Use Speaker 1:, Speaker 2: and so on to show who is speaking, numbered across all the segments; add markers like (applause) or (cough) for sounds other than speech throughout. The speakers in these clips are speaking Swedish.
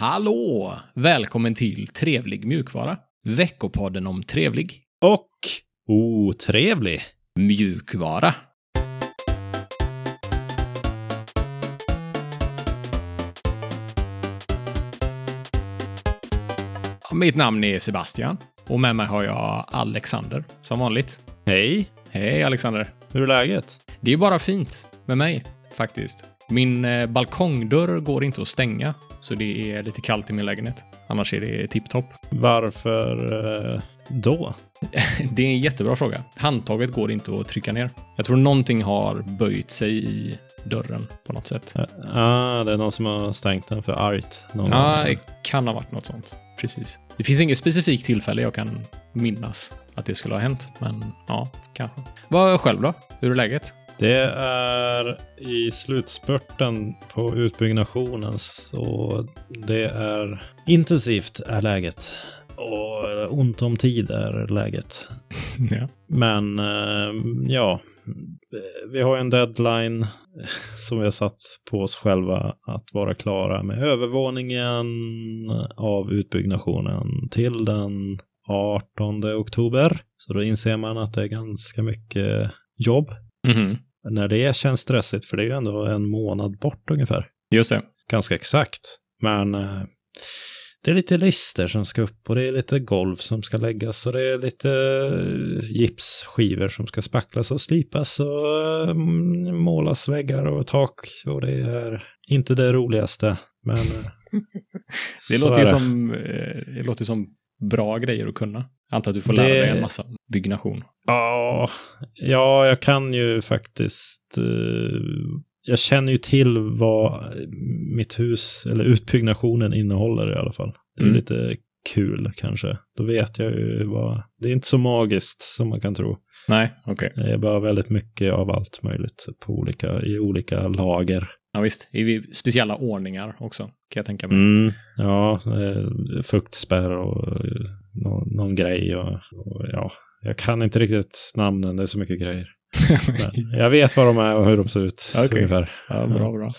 Speaker 1: Hallå! Välkommen till Trevlig mjukvara. Veckopodden om trevlig
Speaker 2: Och otrevlig.
Speaker 1: mjukvara. Mitt namn är Sebastian och med mig har jag Alexander som vanligt.
Speaker 2: Hej,
Speaker 1: Hej Alexander!
Speaker 2: hur är läget?
Speaker 1: Det är bara fint med mig faktiskt. Min eh, balkongdörr går inte att stänga, så det är lite kallt i min lägenhet. Annars är det tipptopp.
Speaker 2: Varför eh, då?
Speaker 1: Det är en jättebra fråga. Handtaget går inte att trycka ner. Jag tror någonting har böjt sig i dörren på något sätt.
Speaker 2: Eh, Ah, det är någon som har stängt den för argt. Någon
Speaker 1: Ja,
Speaker 2: gång.
Speaker 1: det kan ha varit något sånt. Precis. Det finns inget specifikt tillfälle jag kan minnas att det skulle ha hänt, men ja, kanske. Vad själv då? Hur är läget?
Speaker 2: Det är i slutspurten på utbyggnationen så det är intensivt är läget. Och ont om tid är läget.
Speaker 1: Ja.
Speaker 2: Men eh, ja, vi har ju en deadline (laughs) som vi har satt på oss själva att vara klara med övervåningen av utbyggnationen till den 18 oktober. Så då inser man att det är ganska mycket jobb.
Speaker 1: Mhm.
Speaker 2: När det känns stressigt, för det är ju ändå en månad bort ungefär.
Speaker 1: Just det.
Speaker 2: Ganska exakt. Men eh, det är lite lister som ska upp och det är lite golv som ska läggas och det är lite eh, gipsskivor som ska spacklas och slipas och eh, målas väggar och tak och det är inte det roligaste. Men eh,
Speaker 1: (laughs) Det
Speaker 2: så
Speaker 1: låter
Speaker 2: är
Speaker 1: ju
Speaker 2: det.
Speaker 1: som, eh, det låter som bra grejer att kunna. Jag antar att du får lära
Speaker 2: Det-
Speaker 1: dig en massa byggnation.
Speaker 2: Ja, ja, jag kan ju faktiskt. eh, Jag känner ju till vad mitt hus eller utbyggnationen innehåller i alla fall. Det är
Speaker 1: Mm.
Speaker 2: lite kul kanske. Då vet jag ju vad. Det är inte så magiskt som man kan tro.
Speaker 1: Nej, okej.
Speaker 2: Det är bara väldigt mycket av allt möjligt på olika, i olika lager.
Speaker 1: Ja, visst. I speciella ordningar också, kan jag tänka mig.
Speaker 2: (laughs) Mm. Ja, eh, fuktspärr och eh, någon, någon grej och, och ja. Jag kan inte riktigt namnen, det är så mycket grejer. Men jag vet vad de är och hur de ser ut.
Speaker 1: Okej.
Speaker 2: Ungefär.
Speaker 1: ja, bra, bra.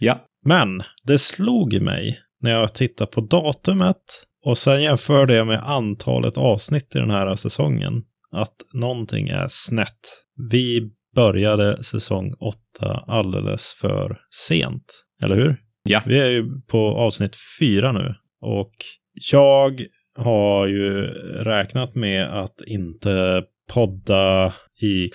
Speaker 1: Ja.
Speaker 2: Men det slog mig när jag tittade på datumet och sen jämförde jag med antalet avsnitt i den här säsongen att någonting är snett. Vi började säsong 8 alldeles för sent, eller hur?
Speaker 1: Ja.
Speaker 2: Vi är ju på avsnitt 4 nu och jag har ju räknat med att inte podda i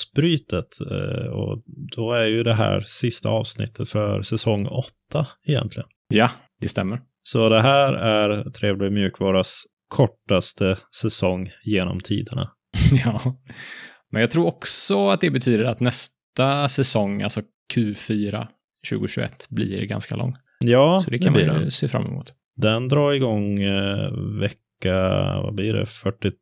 Speaker 2: kvartalsbrytet eh, och då är ju det här sista avsnittet för säsong 8 egentligen.
Speaker 1: ja, det stämmer.
Speaker 2: Så det här är Trevlig mjukvaras kortaste säsong genom tiderna.
Speaker 1: (laughs) ja. Men jag tror också att det betyder att nästa säsong, alltså Q4 2021, blir ganska lång.
Speaker 2: Ja,
Speaker 1: Så det kan man
Speaker 2: blir
Speaker 1: ju
Speaker 2: den.
Speaker 1: se fram emot.
Speaker 2: Den drar igång eh, vecka, vad blir det, 42?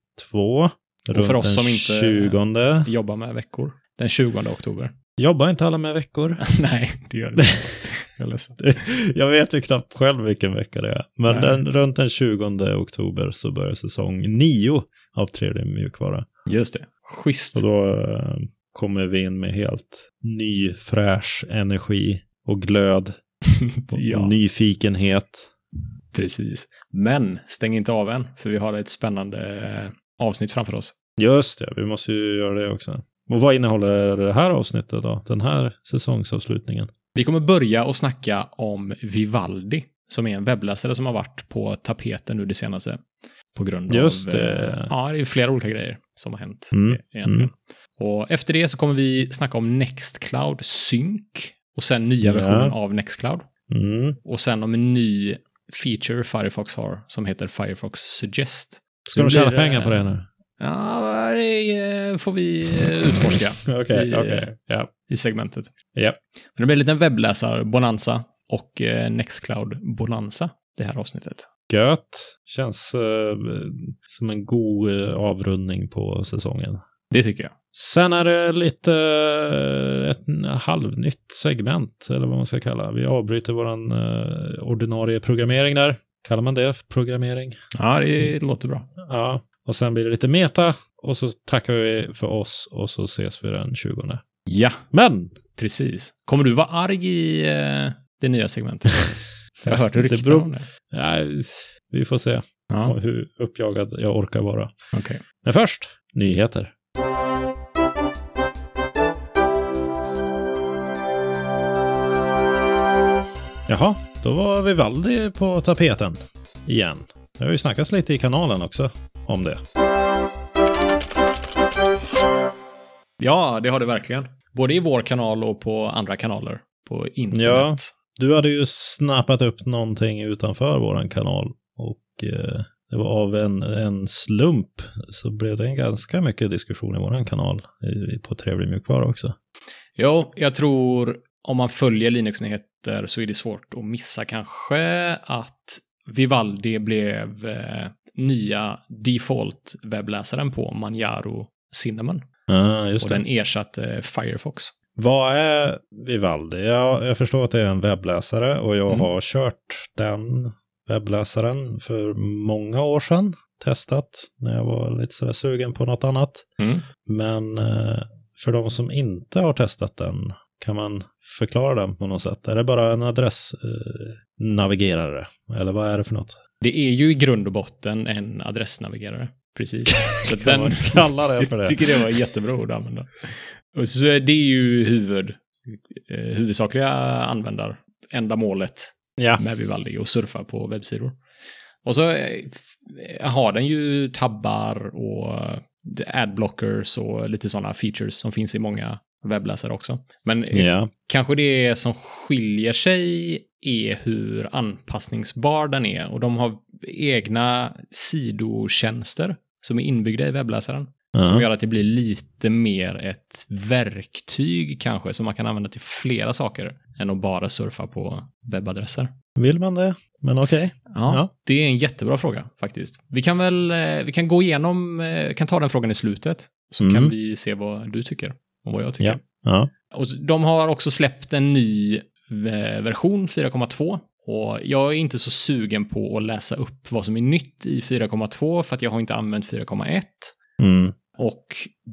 Speaker 1: Och
Speaker 2: Runt
Speaker 1: för oss
Speaker 2: den
Speaker 1: som inte-
Speaker 2: 20.
Speaker 1: Jobba med veckor. Den 20 oktober. (laughs)
Speaker 2: Jobbar inte alla med veckor?
Speaker 1: Nej, det (laughs) gör det inte. Jag är ledsen.
Speaker 2: (laughs) Jag vet ju knappt själv vilken vecka det är. Men
Speaker 1: Nej.
Speaker 2: den, runt den 20 oktober så börjar säsong 9 av Trevlig mjukvara.
Speaker 1: Just det. Schysst.
Speaker 2: Och då eh, kommer vi in med helt ny fräsch energi och glöd och
Speaker 1: ja,
Speaker 2: nyfikenhet.
Speaker 1: precis. Men stäng inte av än, för vi har ett spännande eh, avsnitt framför oss.
Speaker 2: Just det, vi måste ju göra det också. Och vad innehåller det här avsnittet då? Den här säsongsavslutningen?
Speaker 1: Vi kommer börja och snacka om Vivaldi, som är en webbläsare som har varit på tapeten nu det senaste. På grund av...
Speaker 2: Just det.
Speaker 1: eh, Ja, det är flera olika grejer som har hänt.
Speaker 2: Mm,
Speaker 1: e- egentligen.
Speaker 2: mm.
Speaker 1: Och efter det så kommer vi snacka om Nextcloud Sync och sen nya
Speaker 2: Ja.
Speaker 1: versionen av Nextcloud.
Speaker 2: Mm.
Speaker 1: Och sen om en ny feature Firefox har som heter Firefox Suggest.
Speaker 2: Ska
Speaker 1: Nu
Speaker 2: de tjäna
Speaker 1: blir det-
Speaker 2: pengar på det nu?
Speaker 1: Ja, det eh, får vi eh, utforska.
Speaker 2: Okej,
Speaker 1: I- eh,
Speaker 2: okej. Ja.
Speaker 1: i segmentet.
Speaker 2: Ja.
Speaker 1: Men det blir en liten webbläsar-bonanza och eh, Nextcloud-bonanza det här avsnittet.
Speaker 2: Gött. Känns eh, som en god eh, avrundning på säsongen.
Speaker 1: Det tycker jag.
Speaker 2: Sen är det lite eh, ett halvnytt segment, eller vad man ska kalla. Vi avbryter vår ordinarie programmering där. Kallar man det programmering?
Speaker 1: Ja, det
Speaker 2: Mm.
Speaker 1: låter bra.
Speaker 2: Ja. Och sen blir det lite meta och så tackar vi för oss och så ses vi den 20.
Speaker 1: Ja,
Speaker 2: Men (laughs)
Speaker 1: precis. Kommer du vara arg i eh, det nya segmentet? Jag har hört
Speaker 2: Det
Speaker 1: rykten
Speaker 2: beror-
Speaker 1: om det.
Speaker 2: Nej, vi får se
Speaker 1: Ja,
Speaker 2: hur uppjagad jag orkar vara.
Speaker 1: okej.
Speaker 2: Men först, nyheter. Jaha, då var Vivaldi på tapeten igen. Det har ju snackats lite i kanalen också om det.
Speaker 1: Ja, det har det verkligen. Både i vår kanal och på andra kanaler på internet.
Speaker 2: Ja. Du hade ju snappat upp någonting utanför våran kanal och eh, det var av en, en slump så blev det en ganska mycket diskussion i våran kanal i, på Trevlig mjukvara också.
Speaker 1: Jo, jag tror om man följer Linux-nyheter så är det svårt att missa kanske att Vivaldi blev eh, nya default-webbläsaren på Manjaro Cinnamon.
Speaker 2: Ah, just
Speaker 1: Och
Speaker 2: det.
Speaker 1: den ersatte Firefox.
Speaker 2: Vad är Vivaldi? Jag, jag förstår att det är en webbläsare och jag
Speaker 1: Mm.
Speaker 2: har kört den webbläsaren för många år sedan. Testat när jag var lite sådär sugen på något annat.
Speaker 1: Mm.
Speaker 2: Men eh, för de som inte har testat den, kan man förklara den på något sätt? Är det bara en adressnavigerare? Eller vad är det för något?
Speaker 1: Det är ju i grund och botten en adressnavigerare.
Speaker 2: (laughs)
Speaker 1: Precis. Så (laughs)
Speaker 2: Kan man kalla det för det?
Speaker 1: Jag tycker det var ett jättebra ord att använda. Och så är det är ju huvud, eh, huvudsakliga användarändamålet
Speaker 2: Ja.
Speaker 1: med Vivaldi och surfa på webbsidor. Och så eh, f- har den ju tabbar och eh, adblockers och lite sådana features som finns i många webbläsare också. Men eh,
Speaker 2: Ja,
Speaker 1: kanske det som skiljer sig är hur anpassningsbar den är och de har egna sidotjänster som är inbyggda i webbläsaren som
Speaker 2: ja.
Speaker 1: gör att det blir lite mer ett verktyg kanske som man kan använda till flera saker än att bara surfa på webbadresser.
Speaker 2: Vill man det? Men okej.
Speaker 1: Ja,
Speaker 2: Ja.
Speaker 1: det är en jättebra fråga faktiskt. Vi kan väl eh, vi kan gå igenom, eh, kan ta den frågan i slutet, så
Speaker 2: Mm.
Speaker 1: kan vi se vad du tycker och vad jag tycker.
Speaker 2: Ja.
Speaker 1: Och de har också släppt en ny eh, version 4.2. Och jag är inte så sugen på att läsa upp vad som är nytt i 4.2 för att jag har inte använt 4.1.
Speaker 2: Mm.
Speaker 1: Och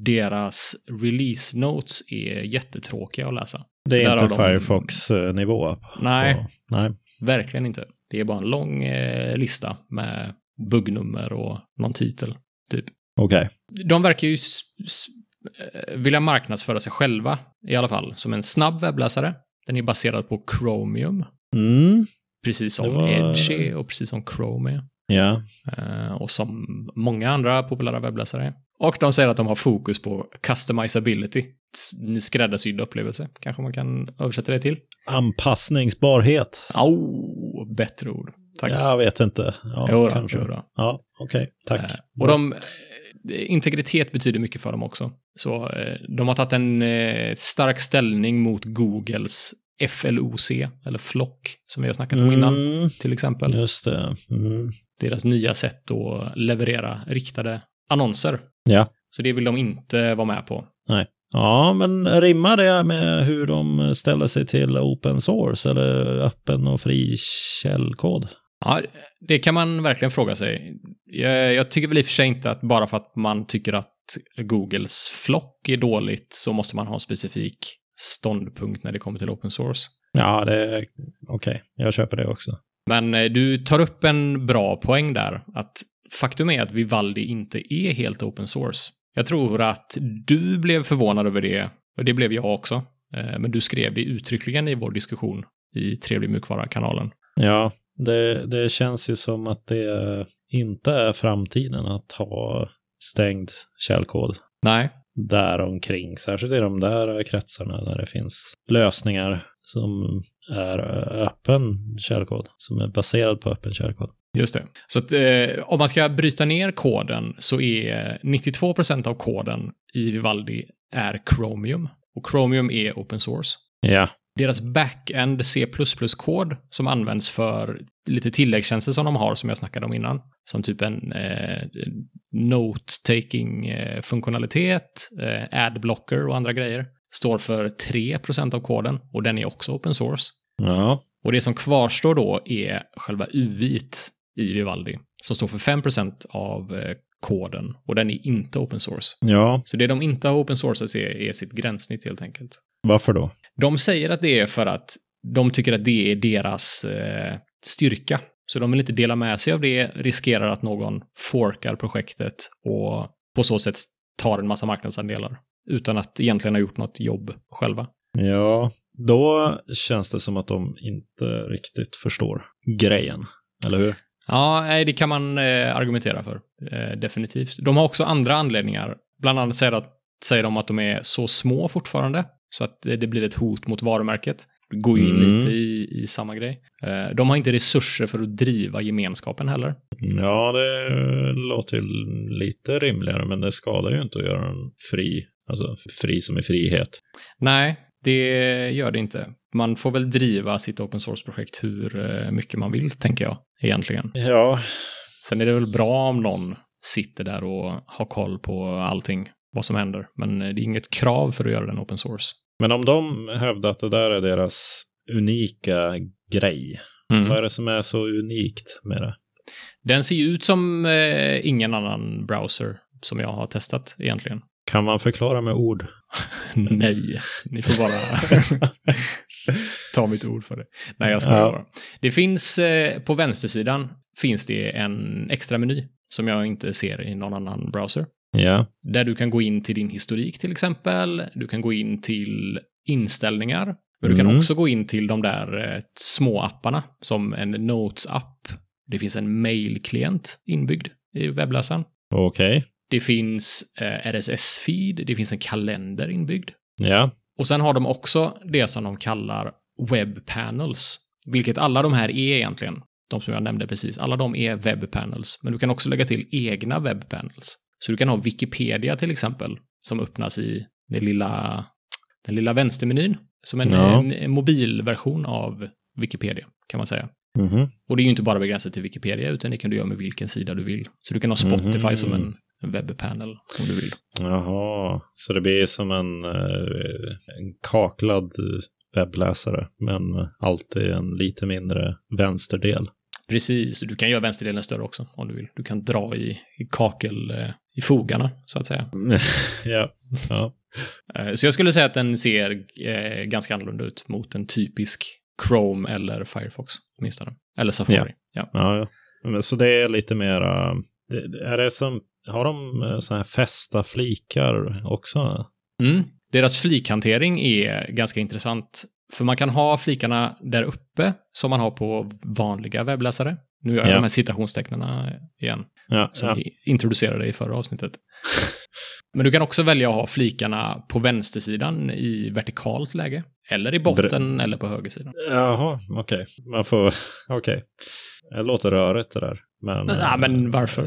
Speaker 1: deras release notes är jättetråkiga att läsa.
Speaker 2: Det
Speaker 1: Så där
Speaker 2: är
Speaker 1: har
Speaker 2: inte
Speaker 1: de-
Speaker 2: Firefox-nivå.
Speaker 1: Nej,
Speaker 2: Nej.
Speaker 1: verkligen inte. Det är bara en lång eh, lista med buggnummer och någon titel.
Speaker 2: Okej.
Speaker 1: de verkar ju s- s- eh, vilja marknadsföra sig själva i alla fall som en snabb webbläsare. Den är baserad på Chromium,
Speaker 2: Mm.
Speaker 1: precis
Speaker 2: Det
Speaker 1: som
Speaker 2: var-
Speaker 1: Edge är och precis som Chrome är.
Speaker 2: Ja.
Speaker 1: eh, Och som många andra populära webbläsare är. Och de säger att de har fokus på customizability. S- Skräddarsydd upplevelse, kanske man kan översätta det till.
Speaker 2: Anpassningsbarhet.
Speaker 1: Au, bättre ord. Tack.
Speaker 2: Jag vet inte. Ja,
Speaker 1: Jo då,
Speaker 2: kanske.
Speaker 1: jo då.
Speaker 2: Ja, okej. Tack.
Speaker 1: Eh, Och de, eh, integritet betyder mycket för dem också. Så eh, de har tagit en eh, stark ställning mot Googles FLOC, eller Flock, som vi har snackat om innan,
Speaker 2: Mm,
Speaker 1: till exempel.
Speaker 2: just det. Mm.
Speaker 1: Deras nya sätt att leverera riktade annonser.
Speaker 2: Ja.
Speaker 1: Så det vill de inte vara med på.
Speaker 2: Ja, men rimmar det med hur de ställer sig till open source eller öppen och fri källkod?
Speaker 1: Ja, det kan man verkligen fråga sig. Jag, jag tycker väl i och för sig inte att bara för att man tycker att Googles flock är dåligt så måste man ha en specifik ståndpunkt när det kommer till open source.
Speaker 2: Ja, det är okej. Jag köper det också.
Speaker 1: Men eh, du tar upp en bra poäng där. Att faktum är att Vivaldi inte är helt open source. Jag tror att du blev förvånad över det, och det blev jag också. Eh, Men du skrev det uttryckligen i vår diskussion i Trevlig mjukvara-kanalen.
Speaker 2: Ja, det, det känns ju som att det inte är framtiden att ha stängd källkod
Speaker 1: Nej,
Speaker 2: däromkring, särskilt i de där kretsarna där det finns lösningar som är öppen källkod, som är baserad på öppen källkod.
Speaker 1: just det. Så att, eh, om man ska bryta ner koden så är 92% av koden i Vivaldi är Chromium. Och Chromium är open source.
Speaker 2: Ja.
Speaker 1: Deras backend C++-kod som används för lite tilläggstjänster som de har som jag snackade om innan. Som typ en eh, note-taking-funktionalitet, eh, adblocker och andra grejer. Står för 3% av koden och den är också open source.
Speaker 2: Ja.
Speaker 1: Och det som kvarstår då är själva UI't i Vivaldi som står för 5% av eh, koden och den är inte open source.
Speaker 2: Ja,
Speaker 1: Så det de inte har open source är, är sitt gränssnitt helt enkelt.
Speaker 2: varför då?
Speaker 1: De säger att det är för att de tycker att det är deras eh, styrka. Så de vill inte dela med sig av det, riskerar att någon forkar projektet och på så sätt tar en massa marknadsandelar utan att egentligen ha gjort något jobb själva.
Speaker 2: Ja, då känns det som att de inte riktigt förstår grejen, eller hur?
Speaker 1: Ja, nej, det kan man eh, argumentera för. Eh, definitivt. De har också andra anledningar. Bland annat säger, att, säger de att de är så små fortfarande, så att eh, det blir ett hot mot varumärket. Det går ju in
Speaker 2: Mm.
Speaker 1: lite i, i samma grej. Eh, de har inte resurser för att driva gemenskapen heller.
Speaker 2: Ja, det låter ju lite rimligare, men det skadar ju inte att göra den fri. Alltså fri som är frihet.
Speaker 1: Nej, det gör det inte. Man får väl driva sitt open source-projekt hur eh, mycket man vill, tänker jag, egentligen.
Speaker 2: Ja,
Speaker 1: Sen är det väl bra om någon sitter där och har koll på allting, vad som händer. Men eh, det är inget krav för att göra den open source.
Speaker 2: men om de hävdar att det där är deras unika grej,
Speaker 1: Mm.
Speaker 2: vad är det som är så unikt med det?
Speaker 1: Den ser ju ut som eh, ingen annan browser som jag har testat egentligen.
Speaker 2: Kan man förklara med ord?
Speaker 1: (laughs)
Speaker 2: Mm.
Speaker 1: Nej, ni får bara ta mitt ord för det. Nej, jag skojar
Speaker 2: Ja.
Speaker 1: bara. Det finns eh, på vänstersidan finns det en extra meny som jag inte ser i någon annan browser.
Speaker 2: Ja,
Speaker 1: Där du kan gå in till din historik till exempel. Du kan gå in till inställningar. Men du kan
Speaker 2: Mm.
Speaker 1: också gå in till de där eh, små apparna som en Notes-app. Det finns en mail-klient inbyggd i webbläsaren.
Speaker 2: okej.
Speaker 1: Det finns eh, RSS-feed, det finns en kalender inbyggd.
Speaker 2: Ja,
Speaker 1: Och sen har de också det som de kallar webbpanels, vilket alla de här är egentligen. De som jag nämnde precis, alla de är webbpanels, men du kan också lägga till egna webbpanels. Så du kan ha Wikipedia till exempel, som öppnas i den lilla, den lilla vänstermenyn, som en,
Speaker 2: Ja.
Speaker 1: en, en mobilversion av Wikipedia, kan man säga.
Speaker 2: mhm.
Speaker 1: Och det är ju inte bara begränsat till Wikipedia, utan det kan du göra med vilken sida du vill. Så du kan ha Spotify
Speaker 2: Mhm.
Speaker 1: som en en webbpanel om du vill.
Speaker 2: jaha. Så det blir som en, eh, en kaklad webbläsare, men alltid en lite mindre vänsterdel.
Speaker 1: Precis, du kan göra vänsterdelen större också om du vill. Du kan dra i, i kakel, eh, i fogarna så att säga.
Speaker 2: ja, ja.
Speaker 1: Eh, Så jag skulle säga att den ser eh, ganska annorlunda ut mot en typisk Chrome eller Firefox åtminstone. Eller Safari.
Speaker 2: Ja.
Speaker 1: Ja.
Speaker 2: Ja, ja. Men så det är lite mera, det- det- är det som, har de eh, såna här fästa flikar också?
Speaker 1: Mm. Deras flikhantering är ganska intressant. För man kan ha flikarna där uppe som man har på vanliga webbläsare. Nu gör jag
Speaker 2: Ja.
Speaker 1: de här citationstecknen igen.
Speaker 2: Ja,
Speaker 1: som
Speaker 2: ja.
Speaker 1: vi introducerade i förra avsnittet. Men du kan också välja att ha flikarna på vänstersidan i vertikalt läge, eller i botten eller på högersidan.
Speaker 2: Jaha, okej. Man får, (laughs) okej. Det låter rörigt det där. Men,
Speaker 1: Ja, men varför?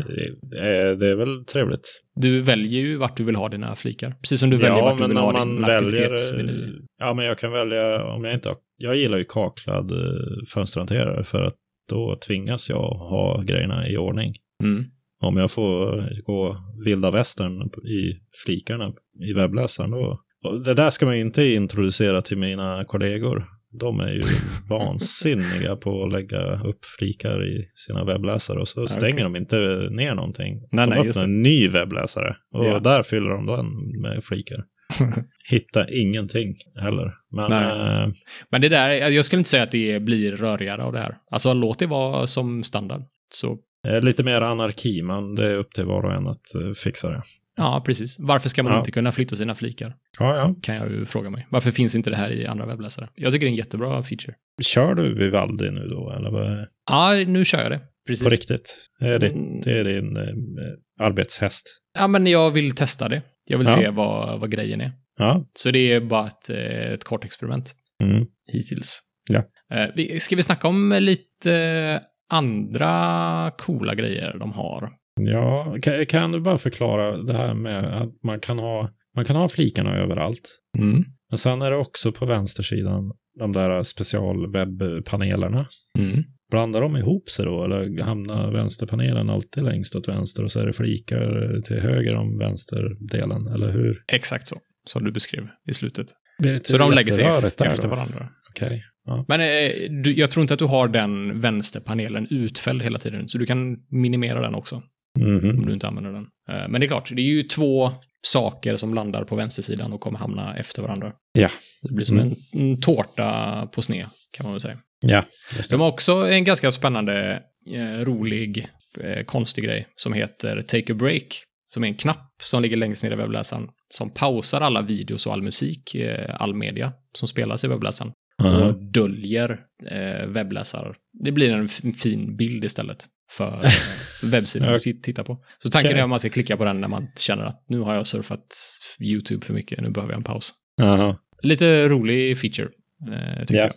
Speaker 2: Det är, det är väl trevligt.
Speaker 1: Du väljer ju vart du vill ha dina flikar, precis som du väljer vart du vill ha din aktivitetsmeny.
Speaker 2: Ja, men jag kan välja om jag inte har, Jag gillar ju kaklad eh, fönsterhanterare för att då tvingas jag ha grejerna i ordning.
Speaker 1: Mm.
Speaker 2: Om jag får gå vilda västern i flikarna i webbläsaren då. och Det där ska man ju inte introducera till mina kollegor.
Speaker 1: (laughs)
Speaker 2: De är ju vansinniga på att lägga upp flikar i sina webbläsare och så stänger
Speaker 1: okej.
Speaker 2: de inte ner någonting.
Speaker 1: Nej,
Speaker 2: de
Speaker 1: nej, just
Speaker 2: öppnar en ny webbläsare och
Speaker 1: Ja.
Speaker 2: där fyller de den
Speaker 1: (laughs)
Speaker 2: med flikar. Hitta ingenting heller. Men
Speaker 1: Nej.
Speaker 2: eh,
Speaker 1: Men det där, jag skulle inte säga att det blir rörigare av det här. Alltså låt det vara som standard. Så
Speaker 2: eh, lite mer anarki, men det är upp till var och en att eh, fixa det.
Speaker 1: ja, precis. Varför ska man
Speaker 2: Ja.
Speaker 1: inte kunna flytta sina flikar?
Speaker 2: Ja, ja.
Speaker 1: Kan jag ju fråga mig. Varför finns inte det här i andra webbläsare? Jag tycker det är en jättebra feature.
Speaker 2: Kör du Vivaldi nu då, eller vad? är-
Speaker 1: Ja, nu kör jag det.
Speaker 2: På
Speaker 1: Precis.
Speaker 2: riktigt? Det är, ditt,
Speaker 1: Mm.
Speaker 2: det är din eh, arbetshäst?
Speaker 1: Ja, men jag vill testa det. Jag vill
Speaker 2: Ja.
Speaker 1: se vad, vad grejen är.
Speaker 2: Ja.
Speaker 1: Så det är bara ett, eh, ett kort experiment
Speaker 2: Mm.
Speaker 1: hittills.
Speaker 2: Ja.
Speaker 1: Eh, vi- Ska vi snacka om lite andra coola grejer de har?
Speaker 2: ja kan, kan du bara förklara det här med att man kan ha, man kan ha flikarna överallt. Men sen är det också på vänstersidan de där specialwebbpanelerna.
Speaker 1: Mm.
Speaker 2: Blandar de ihop sig då eller hamnar vänsterpanelen alltid längst åt vänster och så är det flikar till höger om vänsterdelen? Eller hur?
Speaker 1: Exakt så, som du beskrev i slutet.
Speaker 2: Blir det inte
Speaker 1: Så de lägger sig
Speaker 2: jätterörigt där
Speaker 1: efter, efter
Speaker 2: då?
Speaker 1: varandra.
Speaker 2: Okej.
Speaker 1: Men eh, du, jag tror inte att du har den vänsterpanelen utfälld hela tiden, så du kan minimera den också. om
Speaker 2: Mhm.
Speaker 1: du inte använder den. Eh, Men det är klart, det är ju två saker som landar på vänstersidan och kommer hamna efter varandra.
Speaker 2: Ja.
Speaker 1: Det blir som
Speaker 2: Mm.
Speaker 1: en, en tårta på sned, kan man väl säga.
Speaker 2: Ja, just det.
Speaker 1: De har också en ganska spännande, eh, rolig, eh, konstig grej som heter Take a Break. Som är en knapp som ligger längst ner i webbläsaren. Som pausar alla videos och all musik, eh, all media som spelas i webbläsaren.
Speaker 2: Ja.
Speaker 1: Och döljer eh, webbläsar. Det blir en f- fin bild istället
Speaker 2: (laughs)
Speaker 1: för, eh, för webbsidan att ti- titta på. Så tanken
Speaker 2: Okej.
Speaker 1: är att man ska klicka på den när man känner att nu har jag surfat YouTube för mycket, nu behöver jag en paus.
Speaker 2: Jaha.
Speaker 1: Lite rolig feature, eh, tycker
Speaker 2: Ja.
Speaker 1: jag.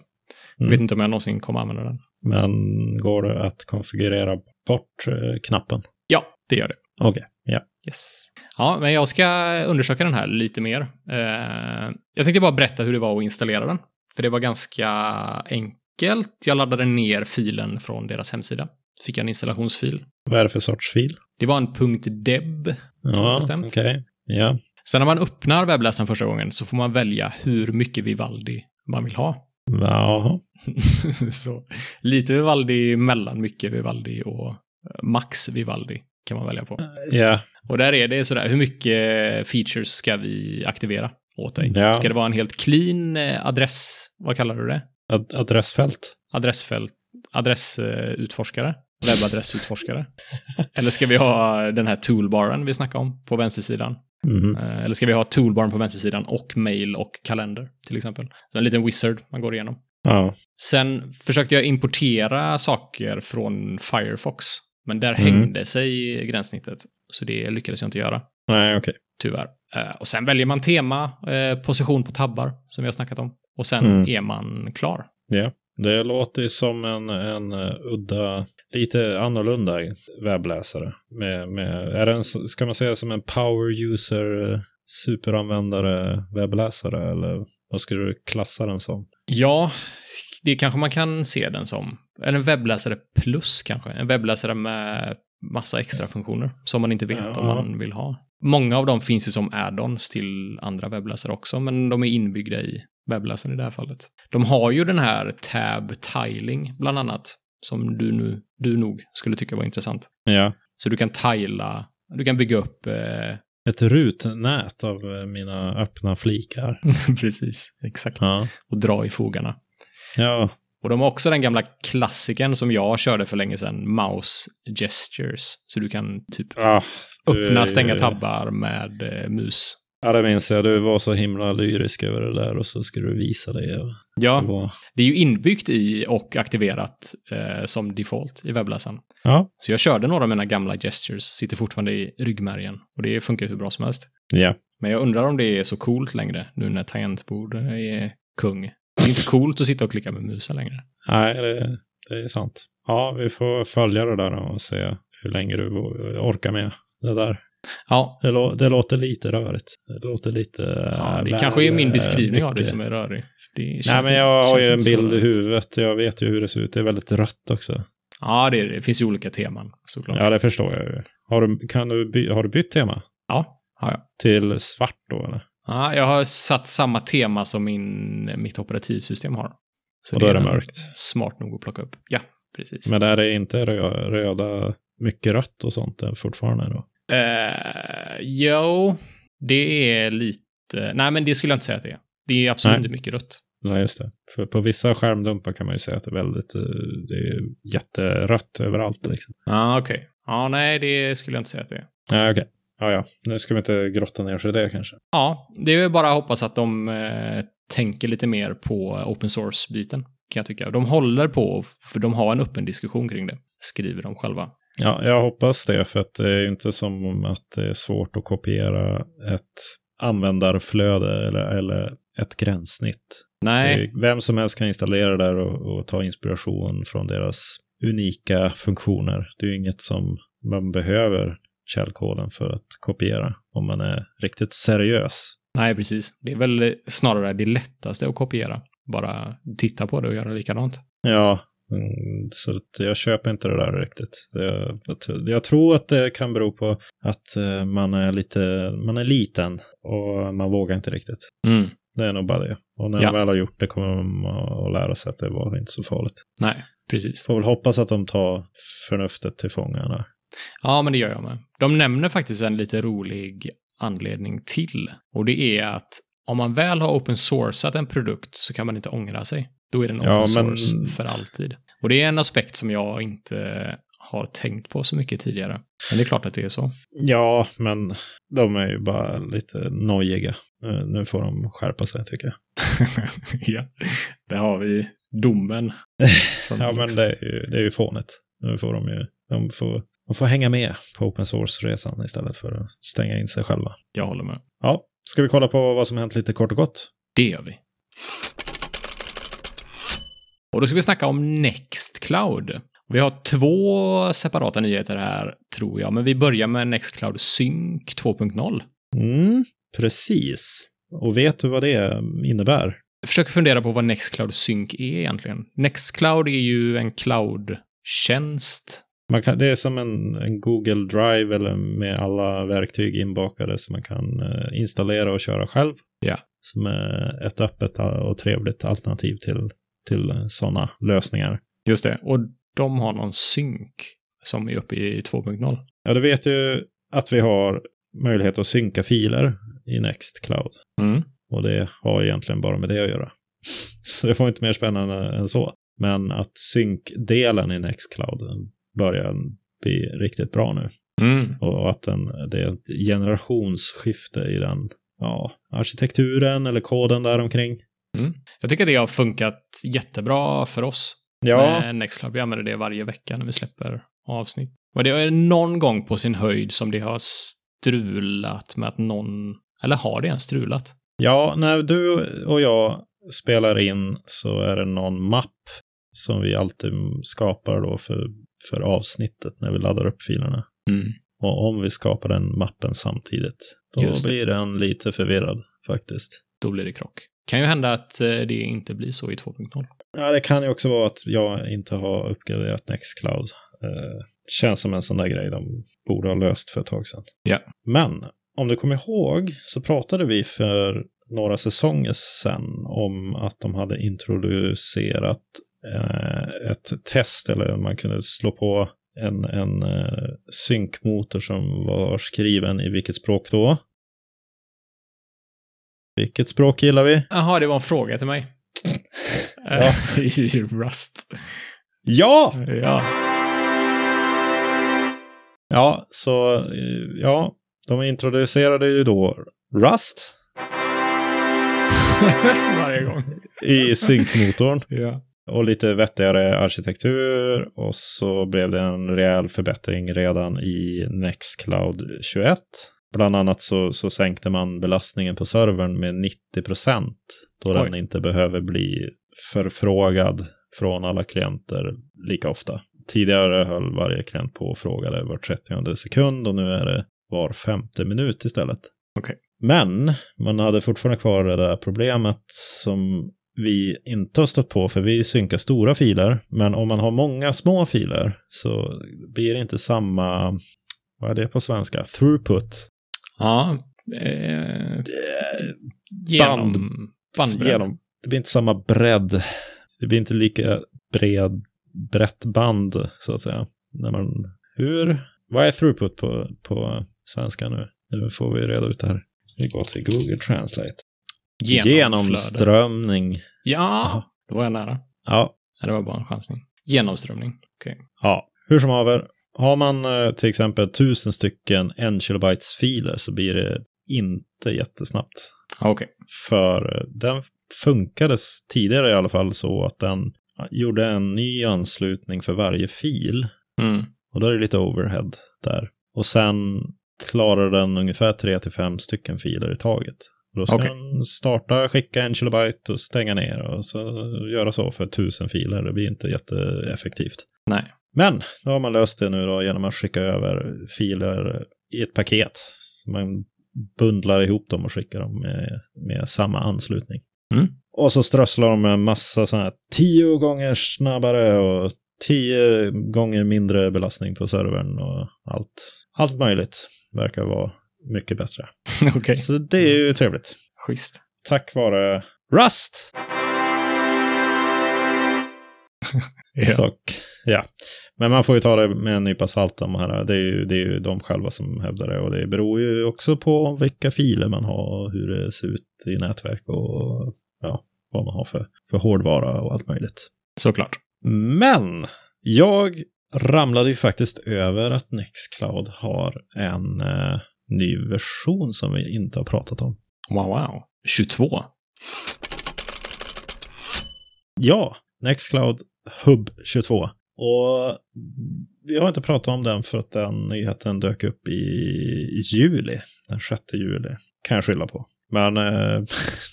Speaker 2: Mm.
Speaker 1: Vet inte om jag någonsin kommer använda den.
Speaker 2: Men går det att konfigurera bort eh, knappen?
Speaker 1: Ja, det gör det.
Speaker 2: Okej, ja.
Speaker 1: Yes. Ja, men jag ska undersöka den här lite mer. Eh, jag tänkte bara berätta hur det var att installera den. För det var ganska enkelt. Jag laddade ner filen från deras hemsida. Fick jag en installationsfil.
Speaker 2: Vad är det för sorts fil?
Speaker 1: Det var en .deb.
Speaker 2: Ja,
Speaker 1: Bestämt.
Speaker 2: okej. Ja.
Speaker 1: Sen när man öppnar webbläsaren första gången så får man välja hur mycket Vivaldi man vill ha. (laughs)
Speaker 2: Jaha.
Speaker 1: så lite Vivaldi, mellan mycket Vivaldi och eh, max Vivaldi kan man välja på.
Speaker 2: Ja,
Speaker 1: Och där är det sådär, hur mycket features ska vi aktivera åt dig?
Speaker 2: Ja.
Speaker 1: Ska det vara en helt clean eh, adress, vad kallar du det?
Speaker 2: Ad- adressfält.
Speaker 1: Adressfält, adressutforskare?
Speaker 2: (laughs)
Speaker 1: Webbadressutforskare? Eller ska vi ha den här toolbaren vi snackade om på vänstersidan?
Speaker 2: Mhm.
Speaker 1: Eh, Eller ska vi ha toolbaren på vänstersidan och mail och kalender till exempel? Så en liten wizard man går igenom.
Speaker 2: Ja.
Speaker 1: Sen försökte jag importera saker från Firefox, men där
Speaker 2: Mm.
Speaker 1: hängde sig gränssnittet. Så det lyckades jag inte göra
Speaker 2: Nej, okej.
Speaker 1: tyvärr. Eh, Och sen väljer man tema, eh, position på tabbar, som vi har snackat om. Och sen
Speaker 2: Mm.
Speaker 1: är man klar.
Speaker 2: Det låter ju som en, en eh, udda, lite annorlunda webbläsare. Med, med, är det en, s- ska man säga som en power user, eh, superanvändare webbläsare? Eller vad skulle du klassa den som?
Speaker 1: Ja, det kanske man kan se den som. Eller en webbläsare plus kanske. En webbläsare med massa extra funktioner som man inte vet
Speaker 2: Ja.
Speaker 1: om man vill ha. Många av dem finns ju som add-ons till andra webbläsare också, men de är inbyggda i webbläsaren i det här fallet. De har ju den här tab tiling, bland annat, som du, nu, du nog skulle tycka var intressant.
Speaker 2: Ja.
Speaker 1: Så du kan tila, du kan bygga upp eh,
Speaker 2: Ett rutnät av eh, mina öppna flikar.
Speaker 1: (laughs) Precis, exakt.
Speaker 2: Ja.
Speaker 1: Och dra i fogarna.
Speaker 2: Ja,
Speaker 1: Och de har också den gamla klassiken som jag körde för länge sedan, mouse gestures. Så du kan typ
Speaker 2: Ah, du är
Speaker 1: öppna,
Speaker 2: ju-
Speaker 1: stänga tabbar med eh, mus.
Speaker 2: Ja, det minns jag. Du var så himla lyrisk över det där och så skulle du visa det. Det
Speaker 1: Ja,
Speaker 2: var-
Speaker 1: det är ju inbyggt i och aktiverat eh, som default i webbläsaren.
Speaker 2: Ja.
Speaker 1: Så jag körde några av mina gamla gestures, sitter fortfarande i ryggmärgen. Och det funkar hur bra som helst.
Speaker 2: Ja.
Speaker 1: Men jag undrar om det är så coolt längre, nu när tangentborden är kung. Det är inte coolt att sitta och klicka med musen längre.
Speaker 2: Nej, det, det är sant. Ja, vi får följa det där och se hur länge du orkar med det där.
Speaker 1: Ja,
Speaker 2: Det, lå- det låter lite rörigt. Det låter lite...
Speaker 1: Ja,
Speaker 2: eh,
Speaker 1: det
Speaker 2: väl,
Speaker 1: kanske är min
Speaker 2: eh,
Speaker 1: beskrivning av det
Speaker 2: mycket.
Speaker 1: som är rörig. Det känns
Speaker 2: Nej, men
Speaker 1: inte-
Speaker 2: jag har
Speaker 1: känns
Speaker 2: ju en
Speaker 1: inte så
Speaker 2: bild i
Speaker 1: rörigt.
Speaker 2: huvudet. Jag vet ju hur det ser ut. Det är väldigt rött också.
Speaker 1: Ja, det, är det. det finns ju olika teman såklart.
Speaker 2: Ja, det förstår jag ju. Har du, kan du by- har du bytt tema?
Speaker 1: Ja, har jag.
Speaker 2: Till svart då, eller?
Speaker 1: Ja, jag har satt samma tema som min, mitt operativsystem har. Så
Speaker 2: och då är det mörkt.
Speaker 1: Smart nog att plocka upp. Ja, precis.
Speaker 2: Men där är inte rö- röda, mycket rött och sånt än fortfarande då.
Speaker 1: Eh, jo, det är lite... Nej, men det skulle jag inte säga att det är. Det är absolut
Speaker 2: Nej.
Speaker 1: inte mycket rött.
Speaker 2: Nej, just det. För på vissa skärmdumpar kan man ju säga att det är väldigt, eh, det är jätterött överallt liksom.
Speaker 1: Ja, okej. Ja, nej, det skulle jag inte säga att det är.
Speaker 2: Ja, okej. Ja, ja. Nu ska vi inte grotta ner sig i det kanske.
Speaker 1: Ja, det är ju bara att hoppas att de eh, tänker lite mer på open source-biten, kan jag tycka. De håller på, för de har en öppen diskussion kring det, skriver de själva.
Speaker 2: Ja, jag hoppas det, för att det är ju inte som att det är svårt att kopiera ett användarflöde eller, eller ett gränssnitt. Det
Speaker 1: Nej,
Speaker 2: är- Eh, Vem som helst kan installera det där och, och ta inspiration från deras unika funktioner. Det är ju inget som man behöver källkoden för att kopiera om man är riktigt seriös.
Speaker 1: nej, precis. Det är väl snarare det lättaste att kopiera. Bara titta på det och göra likadant.
Speaker 2: Ja, mm, så att jag köper inte det där riktigt. Jag, jag t- jag tror att det kan bero på att eh, man är lite, man är liten och man vågar inte riktigt.
Speaker 1: Mm.
Speaker 2: Det är nog bara det. Och när
Speaker 1: Ja.
Speaker 2: man väl har gjort det kommer man att lära sig att det var inte så farligt.
Speaker 1: Nej, precis.
Speaker 2: Får väl hoppas att de tar förnuftet till fånga där.
Speaker 1: Ja, men det gör jag med. De nämner faktiskt en lite rolig anledning till. Och det är att om man väl har open sourcat en produkt så kan man inte ångra sig. Då är den open
Speaker 2: Ja, men-
Speaker 1: source för alltid. Och det är en aspekt som jag inte har tänkt på så mycket tidigare. Men det är klart att det är
Speaker 2: (laughs)
Speaker 1: så.
Speaker 2: Ja, men de är ju bara lite nojiga. Eh, Nu får de skärpa sig tycker jag.
Speaker 1: ja, där har vi domen. från
Speaker 2: Ja, men
Speaker 1: Linux.
Speaker 2: det är ju, det är ju fånigt. Nu får de ju, de får, de får hänga med på open source-resan istället för att stänga in sig själva.
Speaker 1: Jag håller med.
Speaker 2: Ja, ska vi kolla på vad som hänt lite kort och gott?
Speaker 1: Det gör vi. Och då ska vi snacka om Nextcloud. Vi har två separata nyheter här, tror jag, men vi börjar med Nextcloud Sync 2.0.
Speaker 2: Mm, precis. Och vet du vad det innebär?
Speaker 1: Jag försöker fundera på vad Nextcloud Sync är egentligen. Nextcloud är ju en cloud-tjänst.
Speaker 2: Man kan, det är som en, en Google Drive eller med alla verktyg inbakade som man kan eh, installera och köra själv.
Speaker 1: Ja.
Speaker 2: Som är ett öppet och trevligt alternativ till, till sådana lösningar.
Speaker 1: Just det. Och de har någon sync som är uppe i 2.0.
Speaker 2: Ja, du vet ju att vi har möjlighet att synka filer i Nextcloud.
Speaker 1: Mm.
Speaker 2: Och det har egentligen bara med det att göra. (laughs) Så det var inte mer spännande än så. Men att synkdelen i Nextcloud börjar bli riktigt bra nu.
Speaker 1: Mm.
Speaker 2: Och att den, det är ett generationsskifte i den ja, arkitekturen eller koden där omkring.
Speaker 1: Jag tycker det har funkat jättebra för oss
Speaker 2: Ja,
Speaker 1: med Nextcloud. Vi använder det varje vecka när vi släpper avsnitt. Och det är någon gång på sin höjd som det har strulat med att någon, eller har det ens strulat?
Speaker 2: ja, när du och jag spelar in så är det någon mapp som vi alltid skapar då för, för avsnittet när vi laddar upp filerna. Och om vi skapar den mappen samtidigt, då
Speaker 1: Just det.
Speaker 2: blir den lite förvirrad faktiskt.
Speaker 1: Då blir det krock. Kan ju hända att eh, det inte blir så i 2.0.
Speaker 2: Ja, det kan ju också vara att jag inte har uppgraderat Nextcloud. Eh, känns som en sån där grej de borde ha löst för ett tag sedan.
Speaker 1: Ja.
Speaker 2: Men om du kommer ihåg så pratade vi för några säsonger sedan om att de hade introducerat eh, ett test, eller man kunde slå på en, en eh, synkmotor som var skriven i vilket språk då? Vilket språk gillar vi?
Speaker 1: Jaha, det var en fråga till mig. (laughs)
Speaker 2: Ja.
Speaker 1: I Rust.
Speaker 2: Ja!
Speaker 1: Ja.
Speaker 2: Ja, så eh, ja, de introducerade ju då Rust
Speaker 1: (laughs) Varje gång.
Speaker 2: i synkmotorn
Speaker 1: Ja.
Speaker 2: och lite vettigare arkitektur och så blev det en rejäl förbättring redan i Nextcloud 21. Bland annat så, så sänkte man belastningen på servern med 90 procent då den
Speaker 1: Oj.
Speaker 2: inte behöver bli förfrågad från alla klienter lika ofta. Tidigare höll varje klient på och frågade var 30 sekund och nu är det var femte minut istället.
Speaker 1: Okej.
Speaker 2: Men man hade fortfarande kvar det där problemet som vi inte har stött på för vi synkar stora filer. Men om man har många små filer så blir det inte samma, vad är det på svenska, throughput.
Speaker 1: Ja. Eh,
Speaker 2: Eh,
Speaker 1: genom... Bandbredd.
Speaker 2: Genom, det blir inte samma bredd. Det blir inte lika bred, brett band så att säga. När man, hur, vad är throughput på, på svenska nu? Nu får vi reda ut det här. Vi går till Google Translate.
Speaker 1: Genomflöde.
Speaker 2: Genomströmning.
Speaker 1: Ja, då var jag nära.
Speaker 2: Ja,
Speaker 1: Nej, det var bara en chansning. Genomströmning. Okej.
Speaker 2: Ja, hur som haver. Har man eh, till exempel tusen stycken 1 kilobytes filer så blir det inte jättesnabbt.
Speaker 1: Ja, okej.
Speaker 2: För eh, den funkades tidigare i alla fall så att den gjorde en ny anslutning för varje fil.
Speaker 1: Mm.
Speaker 2: Och då är det lite overhead där. Och sen klarar den ungefär 3-5 stycken filer i taget. Och Då ska
Speaker 1: Okej.
Speaker 2: den starta, skicka en kilobyte och stänga ner och så göra så för tusen filer. Det blir inte jätteeffektivt.
Speaker 1: Nej.
Speaker 2: Men då har man löst det nu då genom att skicka över filer i ett paket. Så man bundlar ihop dem och skickar dem med, med samma anslutning.
Speaker 1: Mm.
Speaker 2: Och så strösslar de med en massa sådana här tio gånger snabbare och tio gånger mindre belastning på servern och allt. Allt möjligt verkar vara mycket bättre.
Speaker 1: okej.
Speaker 2: Så det är ju trevligt.
Speaker 1: Schysst.
Speaker 2: Tack vare Rust!
Speaker 1: Så.
Speaker 2: Sak. Ja. Men man får ju ta det med en nypa salt. De här. Det, är ju, det är ju de själva som hävdar det. Och det beror ju också på vilka filer man har och hur det ser ut i nätverk och ja, vad man har för, för hårdvara och allt möjligt.
Speaker 1: Såklart.
Speaker 2: Men jag ramlade ju faktiskt över att Nextcloud har en eh, ny version som vi inte har pratat om.
Speaker 1: Wow, wow. 22.
Speaker 2: Ja, Nextcloud Hub 22. Och vi har inte pratat om den för att den nyheten dök upp i juli, den 6 juli. Kan jag skylla på. Men... eh,
Speaker 1: (laughs)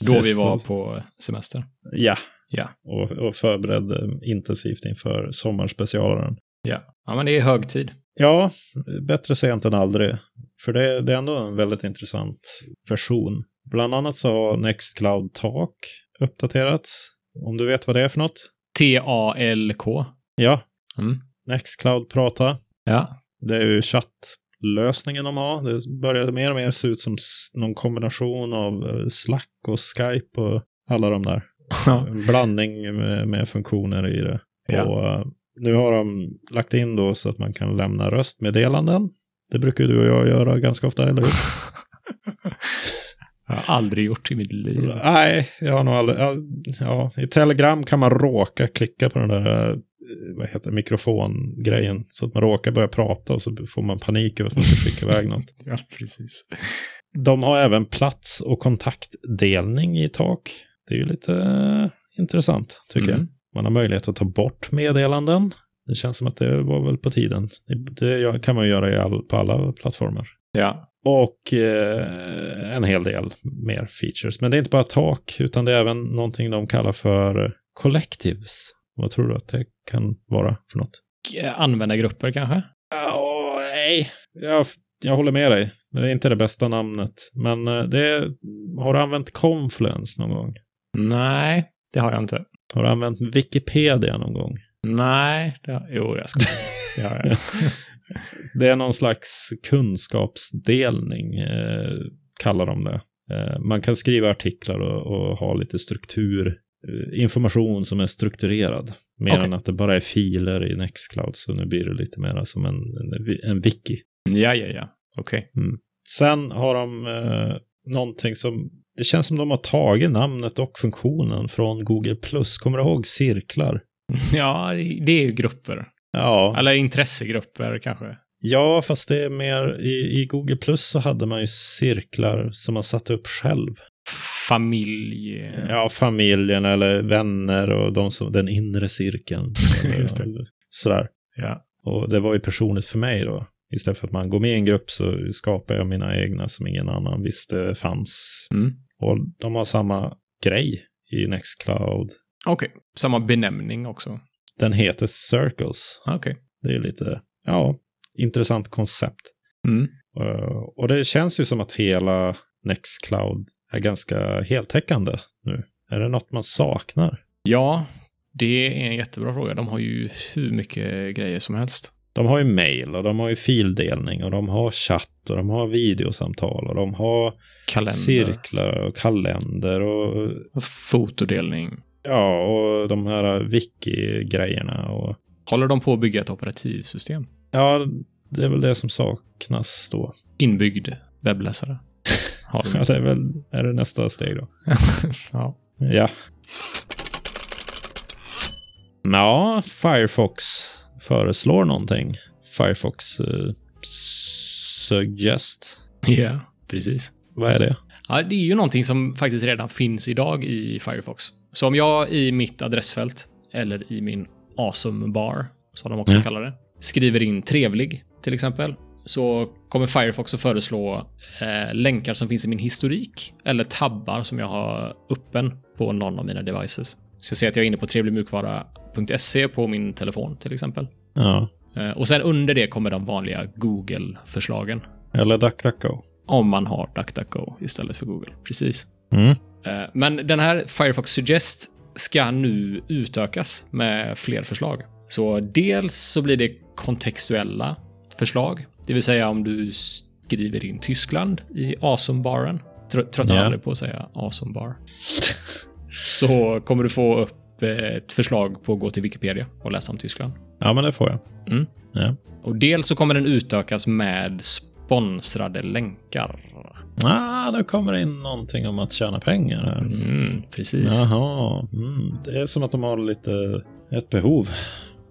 Speaker 1: Då
Speaker 2: det-
Speaker 1: vi var på semester.
Speaker 2: Ja.
Speaker 1: Ja.
Speaker 2: Och, och förberedde intensivt inför sommarspecialen.
Speaker 1: Ja, ja men det är hög tid.
Speaker 2: Ja, bättre sent än aldrig. För det, det är ändå en väldigt intressant version. Bland annat så har Nextcloud Tak uppdaterats. Om du vet vad det är för något?
Speaker 1: T-A-L-K.
Speaker 2: Ja,
Speaker 1: Mm.
Speaker 2: Nextcloud Prata.
Speaker 1: Ja.
Speaker 2: Det är ju chattlösningen de har. Det börjar mer och mer se ut som s- någon kombination av eh, Slack och Skype och alla de där. En blandning med, med funktioner i det.
Speaker 1: Ja.
Speaker 2: Och eh, nu har de lagt in då så att man kan lämna röstmeddelanden. Det brukar du och jag göra ganska ofta, eller hur?
Speaker 1: Jag har aldrig gjort i mitt liv.
Speaker 2: Nej, jag har nog aldrig... ja, Ja, I Telegram kan man råka klicka på den där eh, vad heter det, mikrofongrejen. Så att man råkar börja prata och så får man panik över att man ska skicka iväg något.
Speaker 1: (laughs) Ja, precis.
Speaker 2: De har även plats och kontaktdelning i tak. Det är ju lite eh, intressant, tycker jag.
Speaker 1: Mm.
Speaker 2: Man har möjlighet att ta bort meddelanden. Det känns som att det var väl på tiden. Det gör- kan man ju göra i all, på alla plattformar.
Speaker 1: Ja.
Speaker 2: Och eh, en hel del mer features. Men det är inte bara tak, utan det är även någonting de kallar för collectives. Vad tror du att det kan vara för något?
Speaker 1: K- Användargrupper kanske?
Speaker 2: Ja, nej. Jag, jag håller med dig. Det är inte det bästa namnet. Men eh, det är, har du använt Confluence någon gång?
Speaker 1: Nej, det har jag inte.
Speaker 2: Har du använt Wikipedia någon gång?
Speaker 1: Nej, det har... jo, jag
Speaker 2: (laughs)
Speaker 1: skojar. Det har jag.
Speaker 2: Det är någon slags kunskapsdelning, eh, kallar de det. Eh, man kan skriva artiklar och, och ha lite struktur, eh, information som är strukturerad. Mer
Speaker 1: Okej.
Speaker 2: än att det bara är filer i Nextcloud, så nu blir det lite mer som en, en, en wiki.
Speaker 1: Ja, ja, ja. Okej.
Speaker 2: Sen har de eh, någonting som, det känns som de har tagit namnet och funktionen från Google+. Kommer du ihåg cirklar?
Speaker 1: Ja, det är ju grupper.
Speaker 2: Ja,
Speaker 1: Eller intressegrupper kanske.
Speaker 2: ja fast det är mer, i, i Google+, så hade man ju cirklar som man satte upp själv.
Speaker 1: Familj.
Speaker 2: Ja, familjen eller vänner och de som, den inre cirkeln.
Speaker 1: (laughs) Just det.
Speaker 2: Sådär.
Speaker 1: Ja.
Speaker 2: Och det var ju personligt för mig då. Istället för att man går med i en grupp så skapar jag mina egna som ingen annan visste fanns
Speaker 1: Mm.
Speaker 2: Och de har samma grej i Nextcloud.
Speaker 1: Okej. Samma benämning också.
Speaker 2: Den heter Circles.
Speaker 1: Okej.
Speaker 2: Det är lite, ja, intressant koncept.
Speaker 1: Mm.
Speaker 2: Eh, och det känns ju som att hela Nextcloud är ganska heltäckande nu. Är det något man saknar?
Speaker 1: Ja, det är en jättebra fråga. De har ju hur mycket grejer som helst.
Speaker 2: De har ju mail och de har ju fildelning och de har chatt och de har videosamtal och de har
Speaker 1: Kalender,
Speaker 2: cirklar och kalender och
Speaker 1: fotodelning.
Speaker 2: ja, och de här wiki-grejerna och
Speaker 1: Håller de på att bygga ett operativsystem?
Speaker 2: ja, det är väl det som saknas då.
Speaker 1: Inbyggd webbläsare? Har de
Speaker 2: (laughs) Ja, det är väl är det nästa steg då.
Speaker 1: ja.
Speaker 2: Ja. Ja, Firefox föreslår någonting. Firefox eh, Suggest.
Speaker 1: ja, precis.
Speaker 2: Vad är det?
Speaker 1: Ja, det är ju någonting som faktiskt redan finns idag i Firefox. Så om jag i mitt adressfält, eller i min awesome bar, som de också
Speaker 2: Mm.
Speaker 1: kallar det, skriver in trevlig till exempel, så kommer Firefox att föreslå eh, länkar som finns i min historik eller tabbar som jag har öppen på någon av mina devices. Så jag ser att jag är inne på trevligmjukvara.se på min telefon till exempel.
Speaker 2: Ja.
Speaker 1: Eh, och sen under det kommer de vanliga Google-förslagen.
Speaker 2: Eller DuckDuckGo.
Speaker 1: Om man har DuckDuckGo istället för Google. Precis.
Speaker 2: Mm.
Speaker 1: Eh, Men den här Firefox Suggest ska nu utökas med fler förslag. Så dels så blir det kontextuella förslag, det vill säga om du skriver in Tyskland i awesome-baren. Trö- Tröttnar
Speaker 2: Ja.
Speaker 1: aldrig på att säga awesome-bar. (laughs) Så kommer du få upp eh, ett förslag på att gå till Wikipedia och läsa om Tyskland.
Speaker 2: Ja, men det får jag.
Speaker 1: Mm.
Speaker 2: Ja.
Speaker 1: Och dels så kommer den utökas med sp- Sponsrade länkar.
Speaker 2: Ah, nu kommer det in någonting om att tjäna pengar här.
Speaker 1: Mm, precis.
Speaker 2: Jaha, mm. det är som att de har lite ett behov.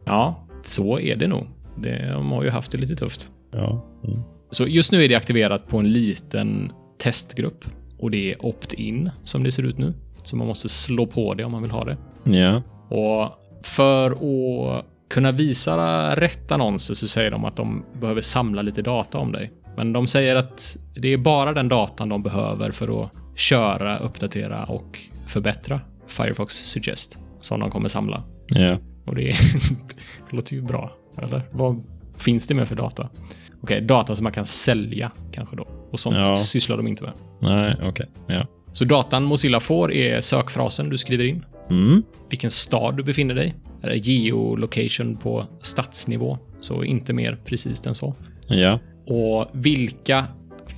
Speaker 1: Ja, så är det nog. Det- De har ju haft det lite tufft.
Speaker 2: Ja, mm.
Speaker 1: Så just nu är det aktiverat på en liten testgrupp och det är opt-in som det ser ut nu. Så man måste slå på det om man vill ha det.
Speaker 2: ja.
Speaker 1: Och för att kunna visa rätt annonser så säger de att de behöver samla lite data om dig. Men de säger att det är bara den datan de behöver för att köra, uppdatera och förbättra Firefox Suggest som de kommer samla.
Speaker 2: ja.
Speaker 1: Och det, är, (laughs) det låter ju bra, eller? Vad finns det med för data? Okej, data som man kan sälja kanske då. Och sånt
Speaker 2: Ja.
Speaker 1: sysslar de inte med.
Speaker 2: Nej, okej. Ja.
Speaker 1: Så datan Mozilla får är sökfrasen du skriver in,
Speaker 2: Mm.
Speaker 1: vilken stad du befinner dig i, eller geolocation på stadsnivå, så inte mer precis än så.
Speaker 2: Ja,
Speaker 1: Och vilka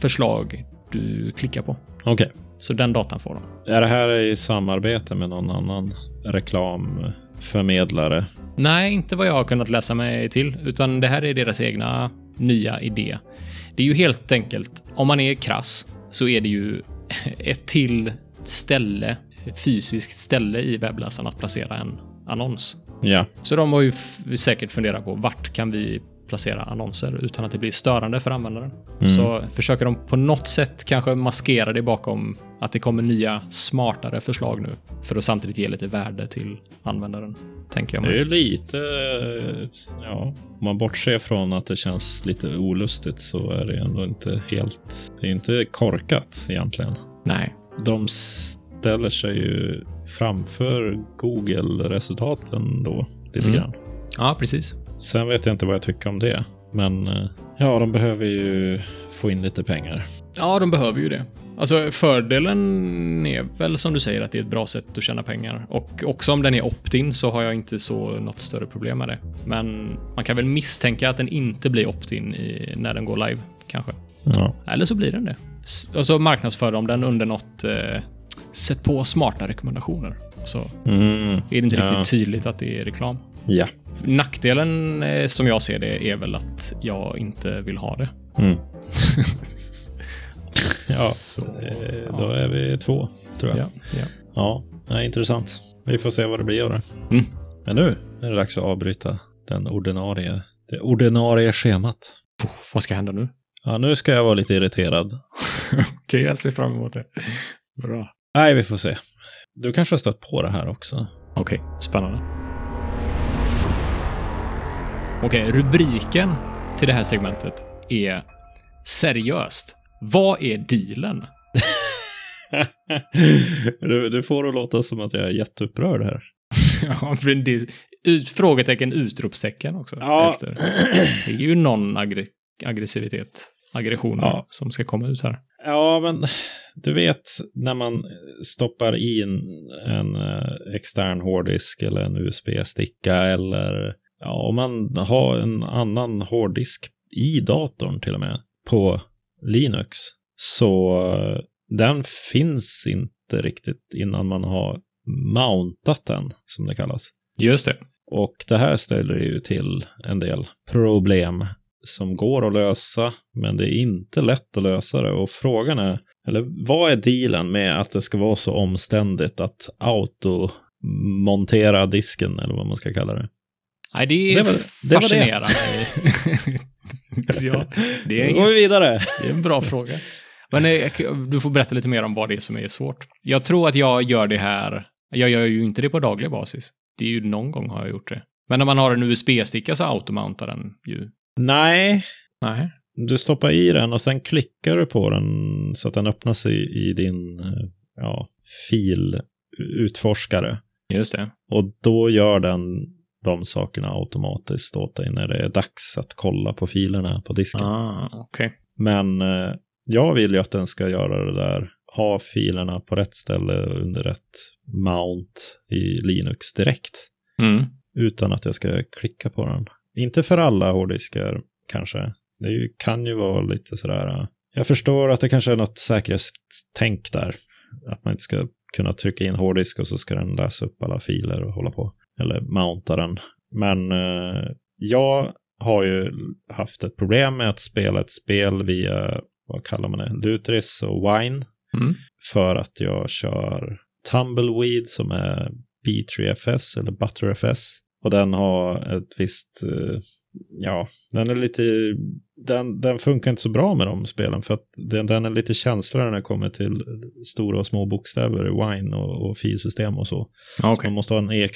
Speaker 1: förslag du klickar på.
Speaker 2: okej.
Speaker 1: Så den datan får de.
Speaker 2: Är det här i samarbete med någon annan reklamförmedlare?
Speaker 1: Nej, inte vad jag har kunnat läsa mig till, utan det här är deras egna nya idé. Det är ju helt enkelt, om man är krass, så är det ju (laughs) ett till ställe, ett fysiskt ställe i webbläsaren att placera en annons.
Speaker 2: Ja,
Speaker 1: Så de har ju f- säkert funderat på vart kan vi placera annonser utan att det blir störande för användaren.
Speaker 2: Mm.
Speaker 1: Så försöker de på något sätt kanske maskera det bakom att det kommer nya smartare förslag nu för att samtidigt ge lite värde till användaren. Tänker jag
Speaker 2: det är
Speaker 1: mig.
Speaker 2: ju lite... eh, Ja, om man bortser från att det känns lite olustigt så är det ändå inte helt... Det är inte korkat egentligen.
Speaker 1: Nej.
Speaker 2: De ställer sig ju framför Google-resultaten då, lite
Speaker 1: Mm.
Speaker 2: grann.
Speaker 1: Ja, precis.
Speaker 2: Sen vet jag inte vad jag tycker om det. Men eh, ja, de behöver ju få in lite pengar.
Speaker 1: Ja, de behöver ju det. Alltså fördelen är väl som du säger att det är ett bra sätt att tjäna pengar och också om den är opt-in så har jag inte så något större problem med det. Men man kan väl misstänka att den inte blir opt-in i, när den går live kanske.
Speaker 2: Ja.
Speaker 1: Eller så blir den det. S- Och så marknadsför de den under något eh, sätt på smarta rekommendationer. Så
Speaker 2: Mm.
Speaker 1: är det inte
Speaker 2: Ja.
Speaker 1: riktigt tydligt att det är reklam.
Speaker 2: Ja.
Speaker 1: Nackdelen eh, som jag ser det är väl att jag inte vill ha det.
Speaker 2: Mm.
Speaker 1: (laughs) ja,
Speaker 2: Eh, Då är vi två, tror jag.
Speaker 1: ja, ja.
Speaker 2: Ja, nej, intressant. Vi får se vad det blir av det.
Speaker 1: Mm.
Speaker 2: Men nu är det dags att avbryta den ordinarie, det ordinarie schemat.
Speaker 1: Puh, vad ska hända nu?
Speaker 2: Ja, nu ska jag vara lite irriterad.
Speaker 1: Okej, jag ser fram emot det. Bra.
Speaker 2: Nej, vi får se. Du kanske har stött på det här (laughs) också?
Speaker 1: Okej, spännande. Okej, rubriken till det här segmentet är Seriöst. Vad är dealen? (laughs)
Speaker 2: du, du får det låta som att jag är jätteupprörd här.
Speaker 1: Ja, men det är ut, frågetecken, utropstecken också.
Speaker 2: Ja.
Speaker 1: Efter. Det är ju någon aggre- aggressivitet, aggression
Speaker 2: Ja.
Speaker 1: som ska komma ut här.
Speaker 2: Ja, men du vet när man stoppar in en eh, extern hårddisk eller en USB-sticka eller ja, om man har en annan hårddisk i datorn till och med på Linux så eh, den finns inte riktigt innan man har mountat den som det kallas.
Speaker 1: Just det.
Speaker 2: Och det här ställer ju till en del problem som går att lösa, men det är inte lätt att lösa det. Och frågan är, eller vad är dealen med att det ska vara så omständigt att automontera disken, eller vad man ska kalla det?
Speaker 1: Nej, det är
Speaker 2: Det var- det var det.
Speaker 1: fascinerande. (laughs) ja, det är
Speaker 2: Nu går vi vidare!
Speaker 1: Det är en bra fråga. Men eh, du får berätta lite mer om vad det är som är svårt. Jag tror att jag gör det här. Jag gör ju inte det på daglig basis. Det är ju någon gång har jag gjort det. Men när man har en USB-sticka så automountar den ju.
Speaker 2: Nej,
Speaker 1: Nej.
Speaker 2: du stoppar i den och sen klickar du på den så att den öppnas i, i din eh, ja, filutforskare.
Speaker 1: Just det.
Speaker 2: Och då gör den de sakerna automatiskt åt dig när det är dags att kolla på filerna på disken.
Speaker 1: Ah, okej.
Speaker 2: Men eh, jag vill ju att den ska göra det där, ha filerna på rätt ställe under rätt mount i Linux direkt
Speaker 1: Mm.
Speaker 2: utan att jag ska klicka på den. Inte för alla hårddiskar kanske. Det är ju, kan ju vara lite sådär. eh, Jag förstår att det kanske är något säkerhetstänk där. Att man inte ska kunna trycka in hårddisk och så ska den läsa upp alla filer och hålla på. Eller mounta den. Men eh, äh, jag har ju haft ett problem med att spela ett spel via, vad kallar man det, Lutris och Wine.
Speaker 1: Mm.
Speaker 2: För att jag kör Tumbleweed som är B3FS eller ButterFS. Och den har ett visst, eh, ja, den är lite, den, den funkar inte så bra med de spelen för att den, den är lite känsligare när det kommer till stora och små bokstäver i Wine och, och filsystem och så.
Speaker 1: Ja,
Speaker 2: Så
Speaker 1: okej.
Speaker 2: man måste ha en E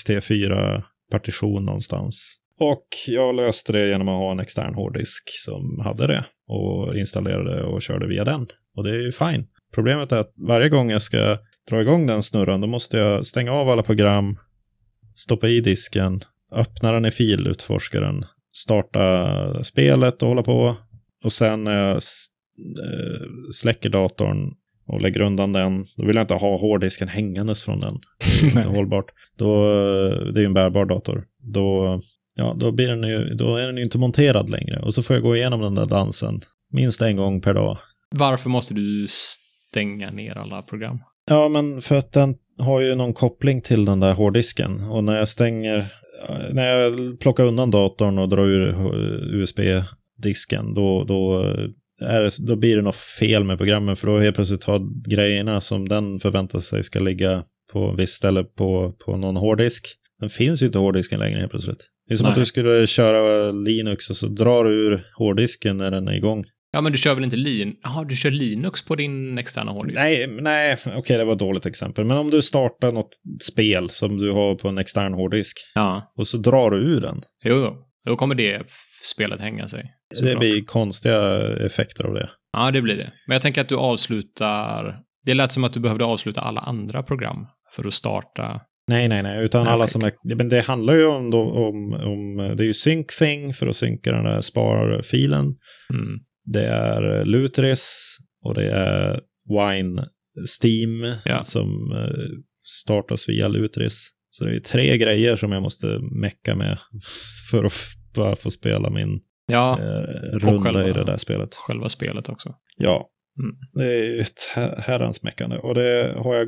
Speaker 2: EXT4-partition någonstans. Och jag löste det genom att ha en extern hårddisk som hade det och installerade och körde via den. Och det är ju fine. Problemet är att varje gång jag ska dra igång den snurran då måste jag stänga av alla program, stoppa i disken, öppna den i filutforskaren, starta spelet och hålla på. Och sen när jag s- eh, släcker datorn och lägger undan den, då vill jag inte ha hårddisken hängandes från den
Speaker 1: (laughs)
Speaker 2: inte hållbart. Då, eh, det är ju en bärbar dator. Då, ja, då, blir den ju, då är den ju inte monterad längre. Och så får jag gå igenom den där dansen minst en gång per dag.
Speaker 1: Varför måste du stänga ner alla program?
Speaker 2: Ja, men för att den har ju någon koppling till den där hårddisken. Och när jag stänger, eh, när jag plockar undan datorn och drar ur eh, USB-disken, då, då, eh, är det, då blir det något fel med programmen. För då helt plötsligt har grejerna som den förväntar sig ska ligga på visst ställe på, på någon hårddisk. Den finns ju inte hårddisken längre helt plötsligt. Det är som
Speaker 1: Nej.
Speaker 2: att du skulle köra Linux och så drar du ur hårddisken när den är igång.
Speaker 1: Ja, men du kör väl inte Linux? Jaha, du kör Linux på din externa hårddisk?
Speaker 2: Nej, nej, okej det var ett dåligt exempel. Men om du startar något spel som du har på en extern hårddisk
Speaker 1: Ja,
Speaker 2: och så drar du ur den.
Speaker 1: jo, jo. Då kommer det spelet hänga sig.
Speaker 2: det
Speaker 1: såklart.
Speaker 2: blir konstiga effekter av det.
Speaker 1: Ja, det blir det. Men jag tänker att du avslutar... Det lät som att du behövde avsluta alla andra program för att starta.
Speaker 2: Nej, nej, nej, utan
Speaker 1: Nej,
Speaker 2: alla
Speaker 1: okej.
Speaker 2: som är... Men det handlar ju om, då, om, om... Det är ju sync thing för att synka den där sparfilen.
Speaker 1: Mm.
Speaker 2: Det är eh, Lutris och det är Wine Steam
Speaker 1: Ja.
Speaker 2: som eh, startas via Lutris. Så det är tre grejer som jag måste mecka med (laughs) för att f- bara få spela min
Speaker 1: Ja,
Speaker 2: eh,
Speaker 1: Och
Speaker 2: runda
Speaker 1: själva-
Speaker 2: i det där spelet.
Speaker 1: själva spelet också.
Speaker 2: Ja,
Speaker 1: Mm.
Speaker 2: det är ju ett her- herrans meckande och det har jag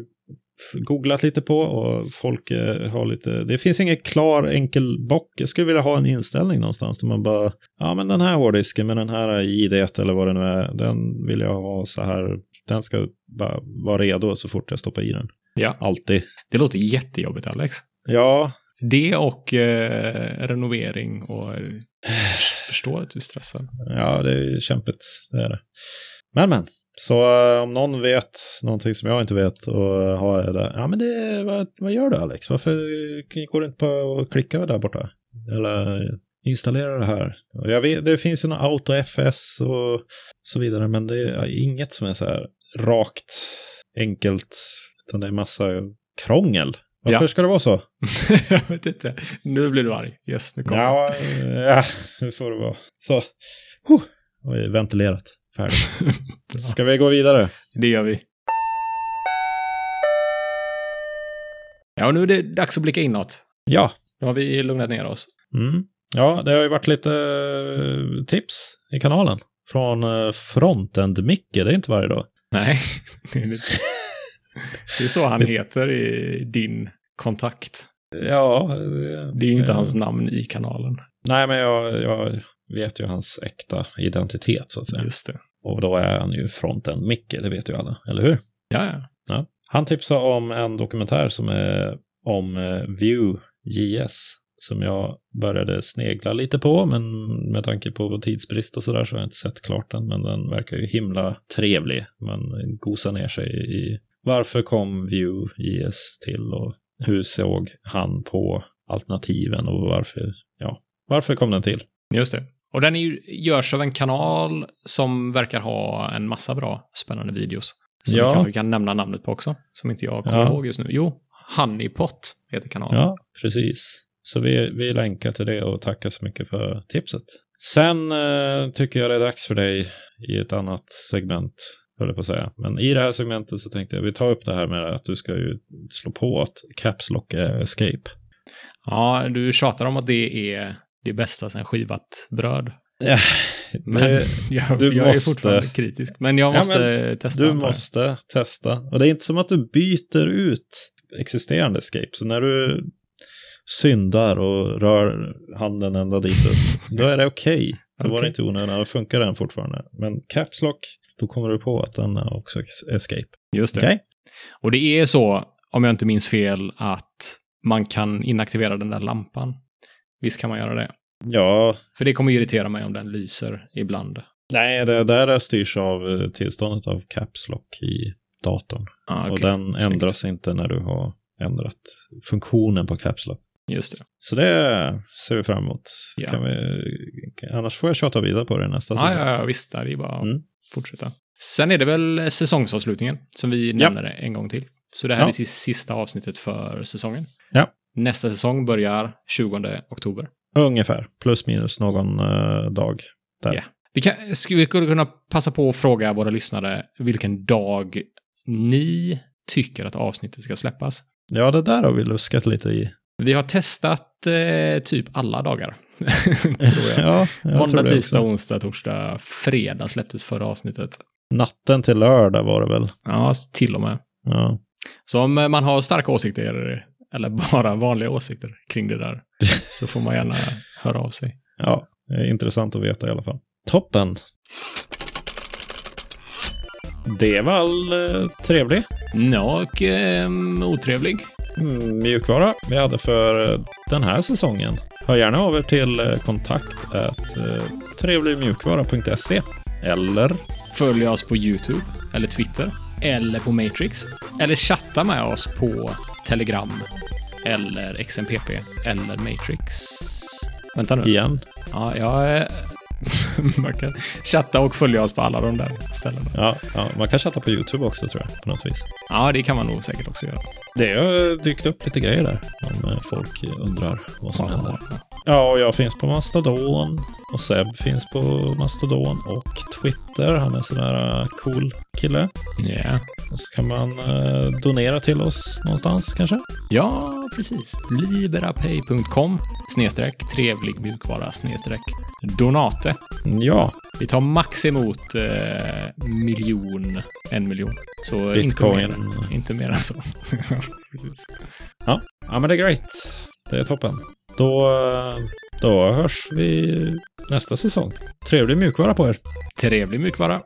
Speaker 2: googlat lite på och folk eh, har lite, det finns ingen klar enkel bock. Jag skulle vilja ha en inställning någonstans där man bara, ja men den här hårddisken med den här id eller vad det nu är, den vill jag ha så här, den ska bara vara redo så fort jag stoppar i den.
Speaker 1: Ja.
Speaker 2: Alltid.
Speaker 1: Det låter jättejobbigt, Alex.
Speaker 2: Ja,
Speaker 1: Det och eh, renovering och...
Speaker 2: (sighs)
Speaker 1: Jag förstår att du är stressad. (laughs)
Speaker 2: Ja, det är kämpigt. Det är det. Men, men. Så eh, om någon vet någonting som jag inte vet och eh, har det där. Ja, men det, vad, vad gör du Alex? Varför går du inte på att klicka där borta? Eller installera det här? Och jag vet, det finns ju någon AutoFS och så vidare, men det är inget som är så här rakt, enkelt, utan det är massa krångel. Varför
Speaker 1: Ja.
Speaker 2: ska det vara så?
Speaker 1: jag vet inte. Nu blir du arg. Yes, nu kommer
Speaker 2: Ja, eh, ja, det får det vara. Så, huh, Oj, ventilerat, färdigt. Ska vi gå vidare?
Speaker 1: Det gör vi. Ja, och nu är det dags att blicka inåt.
Speaker 2: Ja.
Speaker 1: Nu har vi lugnat ner oss.
Speaker 2: Mm. Ja, det har ju varit lite eh, tips i kanalen från eh, Frontend-Micke. Det är inte varje dag.
Speaker 1: Nej. Det är så han heter i din kontakt.
Speaker 2: Ja, eh,
Speaker 1: Det är ju inte hans namn i kanalen.
Speaker 2: nej, men jag, jag vet ju hans äkta identitet så att säga.
Speaker 1: Just det.
Speaker 2: Och då är han ju Frontend-Micke, det vet ju alla, eller hur?
Speaker 1: Ja, ja.
Speaker 2: Ja. Han tipsade om en dokumentär som är om eh, Vue.js som jag började snegla lite på, men med tanke på tidsbrist och sådär så har jag inte sett klart den, men den verkar ju himla trevlig. Man gosar ner sig i varför kom Vue.js till och hur såg han på alternativen och varför, ja, varför kom den till?
Speaker 1: Just det. Och den är ju, görs av en kanal som verkar ha en massa bra spännande videos. Som
Speaker 2: Ja.
Speaker 1: vi kanske kan nämna namnet på också. Som inte jag kommer
Speaker 2: Ja.
Speaker 1: ihåg just nu. Jo, Honeypot heter kanalen.
Speaker 2: Ja, precis. Så vi, vi länkar till det och tackar så mycket för tipset. Sen eh, tycker jag det är dags för dig i ett annat segment, höll jag på att säga. Men i det här segmentet så tänkte jag vi tar upp det här med att du ska ju slå på att Caps Lock är Escape.
Speaker 1: Ja, du tjatar om att det är det bästa sen skivat bröd. (laughs)
Speaker 2: Ja,
Speaker 1: Men
Speaker 2: det,
Speaker 1: jag,
Speaker 2: du
Speaker 1: jag
Speaker 2: måste.
Speaker 1: är fortfarande kritisk. Men jag
Speaker 2: Ja,
Speaker 1: måste testa.
Speaker 2: du
Speaker 1: antar jag.
Speaker 2: måste testa. Och det är inte som att du byter ut existerande Escape. Så när du syndar och rör handen
Speaker 1: (laughs)
Speaker 2: ända ditåt, då är det okej. Då var det
Speaker 1: Okej.
Speaker 2: inte onödigt, då funkar den fortfarande. Men Caps Lock, då kommer du på att den är också escape.
Speaker 1: Just det.
Speaker 2: Okej?
Speaker 1: Och det är så, om jag inte minns fel, att man kan inaktivera den där lampan. Visst kan man göra det.
Speaker 2: Ja,
Speaker 1: För det kommer irritera mig om den lyser ibland.
Speaker 2: nej, det där styrs av eh, tillståndet av Caps Lock i datorn.
Speaker 1: Ah,
Speaker 2: Och
Speaker 1: okej.
Speaker 2: den
Speaker 1: Snyggt.
Speaker 2: ändras inte när du har ändrat funktionen på Caps Lock.
Speaker 1: Just det.
Speaker 2: Så det ser vi fram emot.
Speaker 1: Ja.
Speaker 2: Kan vi, annars får jag tjata vidare på det nästa
Speaker 1: Ah, ja, ja, visst. Det är bara att
Speaker 2: Mm.
Speaker 1: fortsätta. Sen är det väl säsongsavslutningen som vi nämner en gång till. Så det här
Speaker 2: Ja.
Speaker 1: är sist- sista avsnittet för säsongen.
Speaker 2: Ja.
Speaker 1: Nästa säsong börjar 20 oktober.
Speaker 2: Ungefär, plus minus någon eh, dag. Där.
Speaker 1: Ja. Vi, kan, skulle vi skulle kunna passa på att fråga våra lyssnare vilken dag ni tycker att avsnittet ska släppas.
Speaker 2: Ja, det där har vi luskat lite i.
Speaker 1: Vi har testat eh, typ alla dagar. (laughs) tror jag.
Speaker 2: (laughs) ja, jag tror
Speaker 1: Måndag,
Speaker 2: det
Speaker 1: tisdag,
Speaker 2: också.
Speaker 1: onsdag, torsdag, fredag släpptes förra avsnittet.
Speaker 2: Natten till lördag var det väl.
Speaker 1: Ja, till och med.
Speaker 2: Ja.
Speaker 1: Så om eh, man har starka åsikter, eller (laughs) bara vanliga åsikter kring det
Speaker 2: (laughs)
Speaker 1: där, så får man gärna höra av sig.
Speaker 2: ja, det är intressant att veta i alla fall. Toppen! Det var all eh, trevlig
Speaker 1: Ja, och eh, otrevlig.
Speaker 2: mm, mjukvara vi hade för eh, den här säsongen. Hör gärna av er till eh, kontakt at, eh, trevligmjukvara.se eller
Speaker 1: Följ oss på YouTube, eller Twitter, eller på Matrix. Eller chatta med oss på Telegram, eller XMPP, eller Matrix. Vänta nu.
Speaker 2: igen.
Speaker 1: Ja, jag... eh, (laughs) man kan chatta och följa oss på alla de där ställena.
Speaker 2: Ja, ja, man kan chatta på YouTube också tror jag på något vis.
Speaker 1: Ja, det kan man nog säkert också göra.
Speaker 2: Det har eh, dykt upp lite grejer där om eh, folk undrar vad som händer.
Speaker 1: Ja.
Speaker 2: Ja, och jag finns på Mastodon och Seb finns på Mastodon och Twitter. Han är en sån där eh, cool kille.
Speaker 1: Ja.
Speaker 2: Och så kan man eh, donera till oss någonstans kanske.
Speaker 1: Ja, precis. Liberapay.com snedstreck trevlig mjukvara snedstreck donate.
Speaker 2: Ja,
Speaker 1: Vi tar max emot eh, miljon, en miljon. Så
Speaker 2: bitcoin.
Speaker 1: inte mer, inte mer än så. (laughs) precis.
Speaker 2: Ja, men det är great. Det är toppen. Då, eh, då hörs vi nästa säsong. Trevlig mjukvara på er.
Speaker 1: Trevlig mjukvara.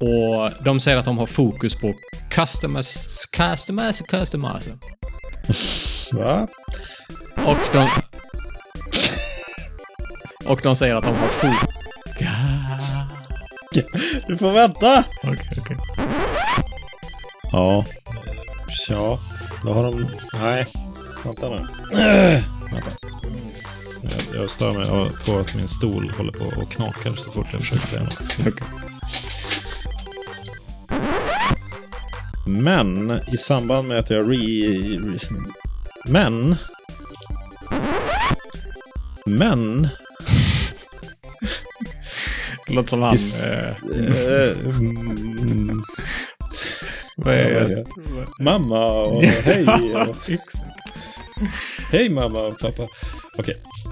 Speaker 1: Och de säger att de har fokus på customers, customers, customers.
Speaker 2: Va?
Speaker 1: Och de... (laughs) Och de säger att de har fokus...
Speaker 2: Du får vänta!
Speaker 1: Okej, okej.
Speaker 2: Ja. Ja, då har de... Nej. Vänta nu. Vänta. Jag, jag stör mig av- på att min stol håller på och knakar så fort jag försöker säga något. Men i samband med att jag re... re men... Men...
Speaker 1: Det låter som han...
Speaker 2: Is-
Speaker 1: eh,
Speaker 2: eh, mm,
Speaker 1: vad är
Speaker 2: ja, (laughs) mamma och hej och...
Speaker 1: Exakt.
Speaker 2: Hej mamma och pappa. Okej.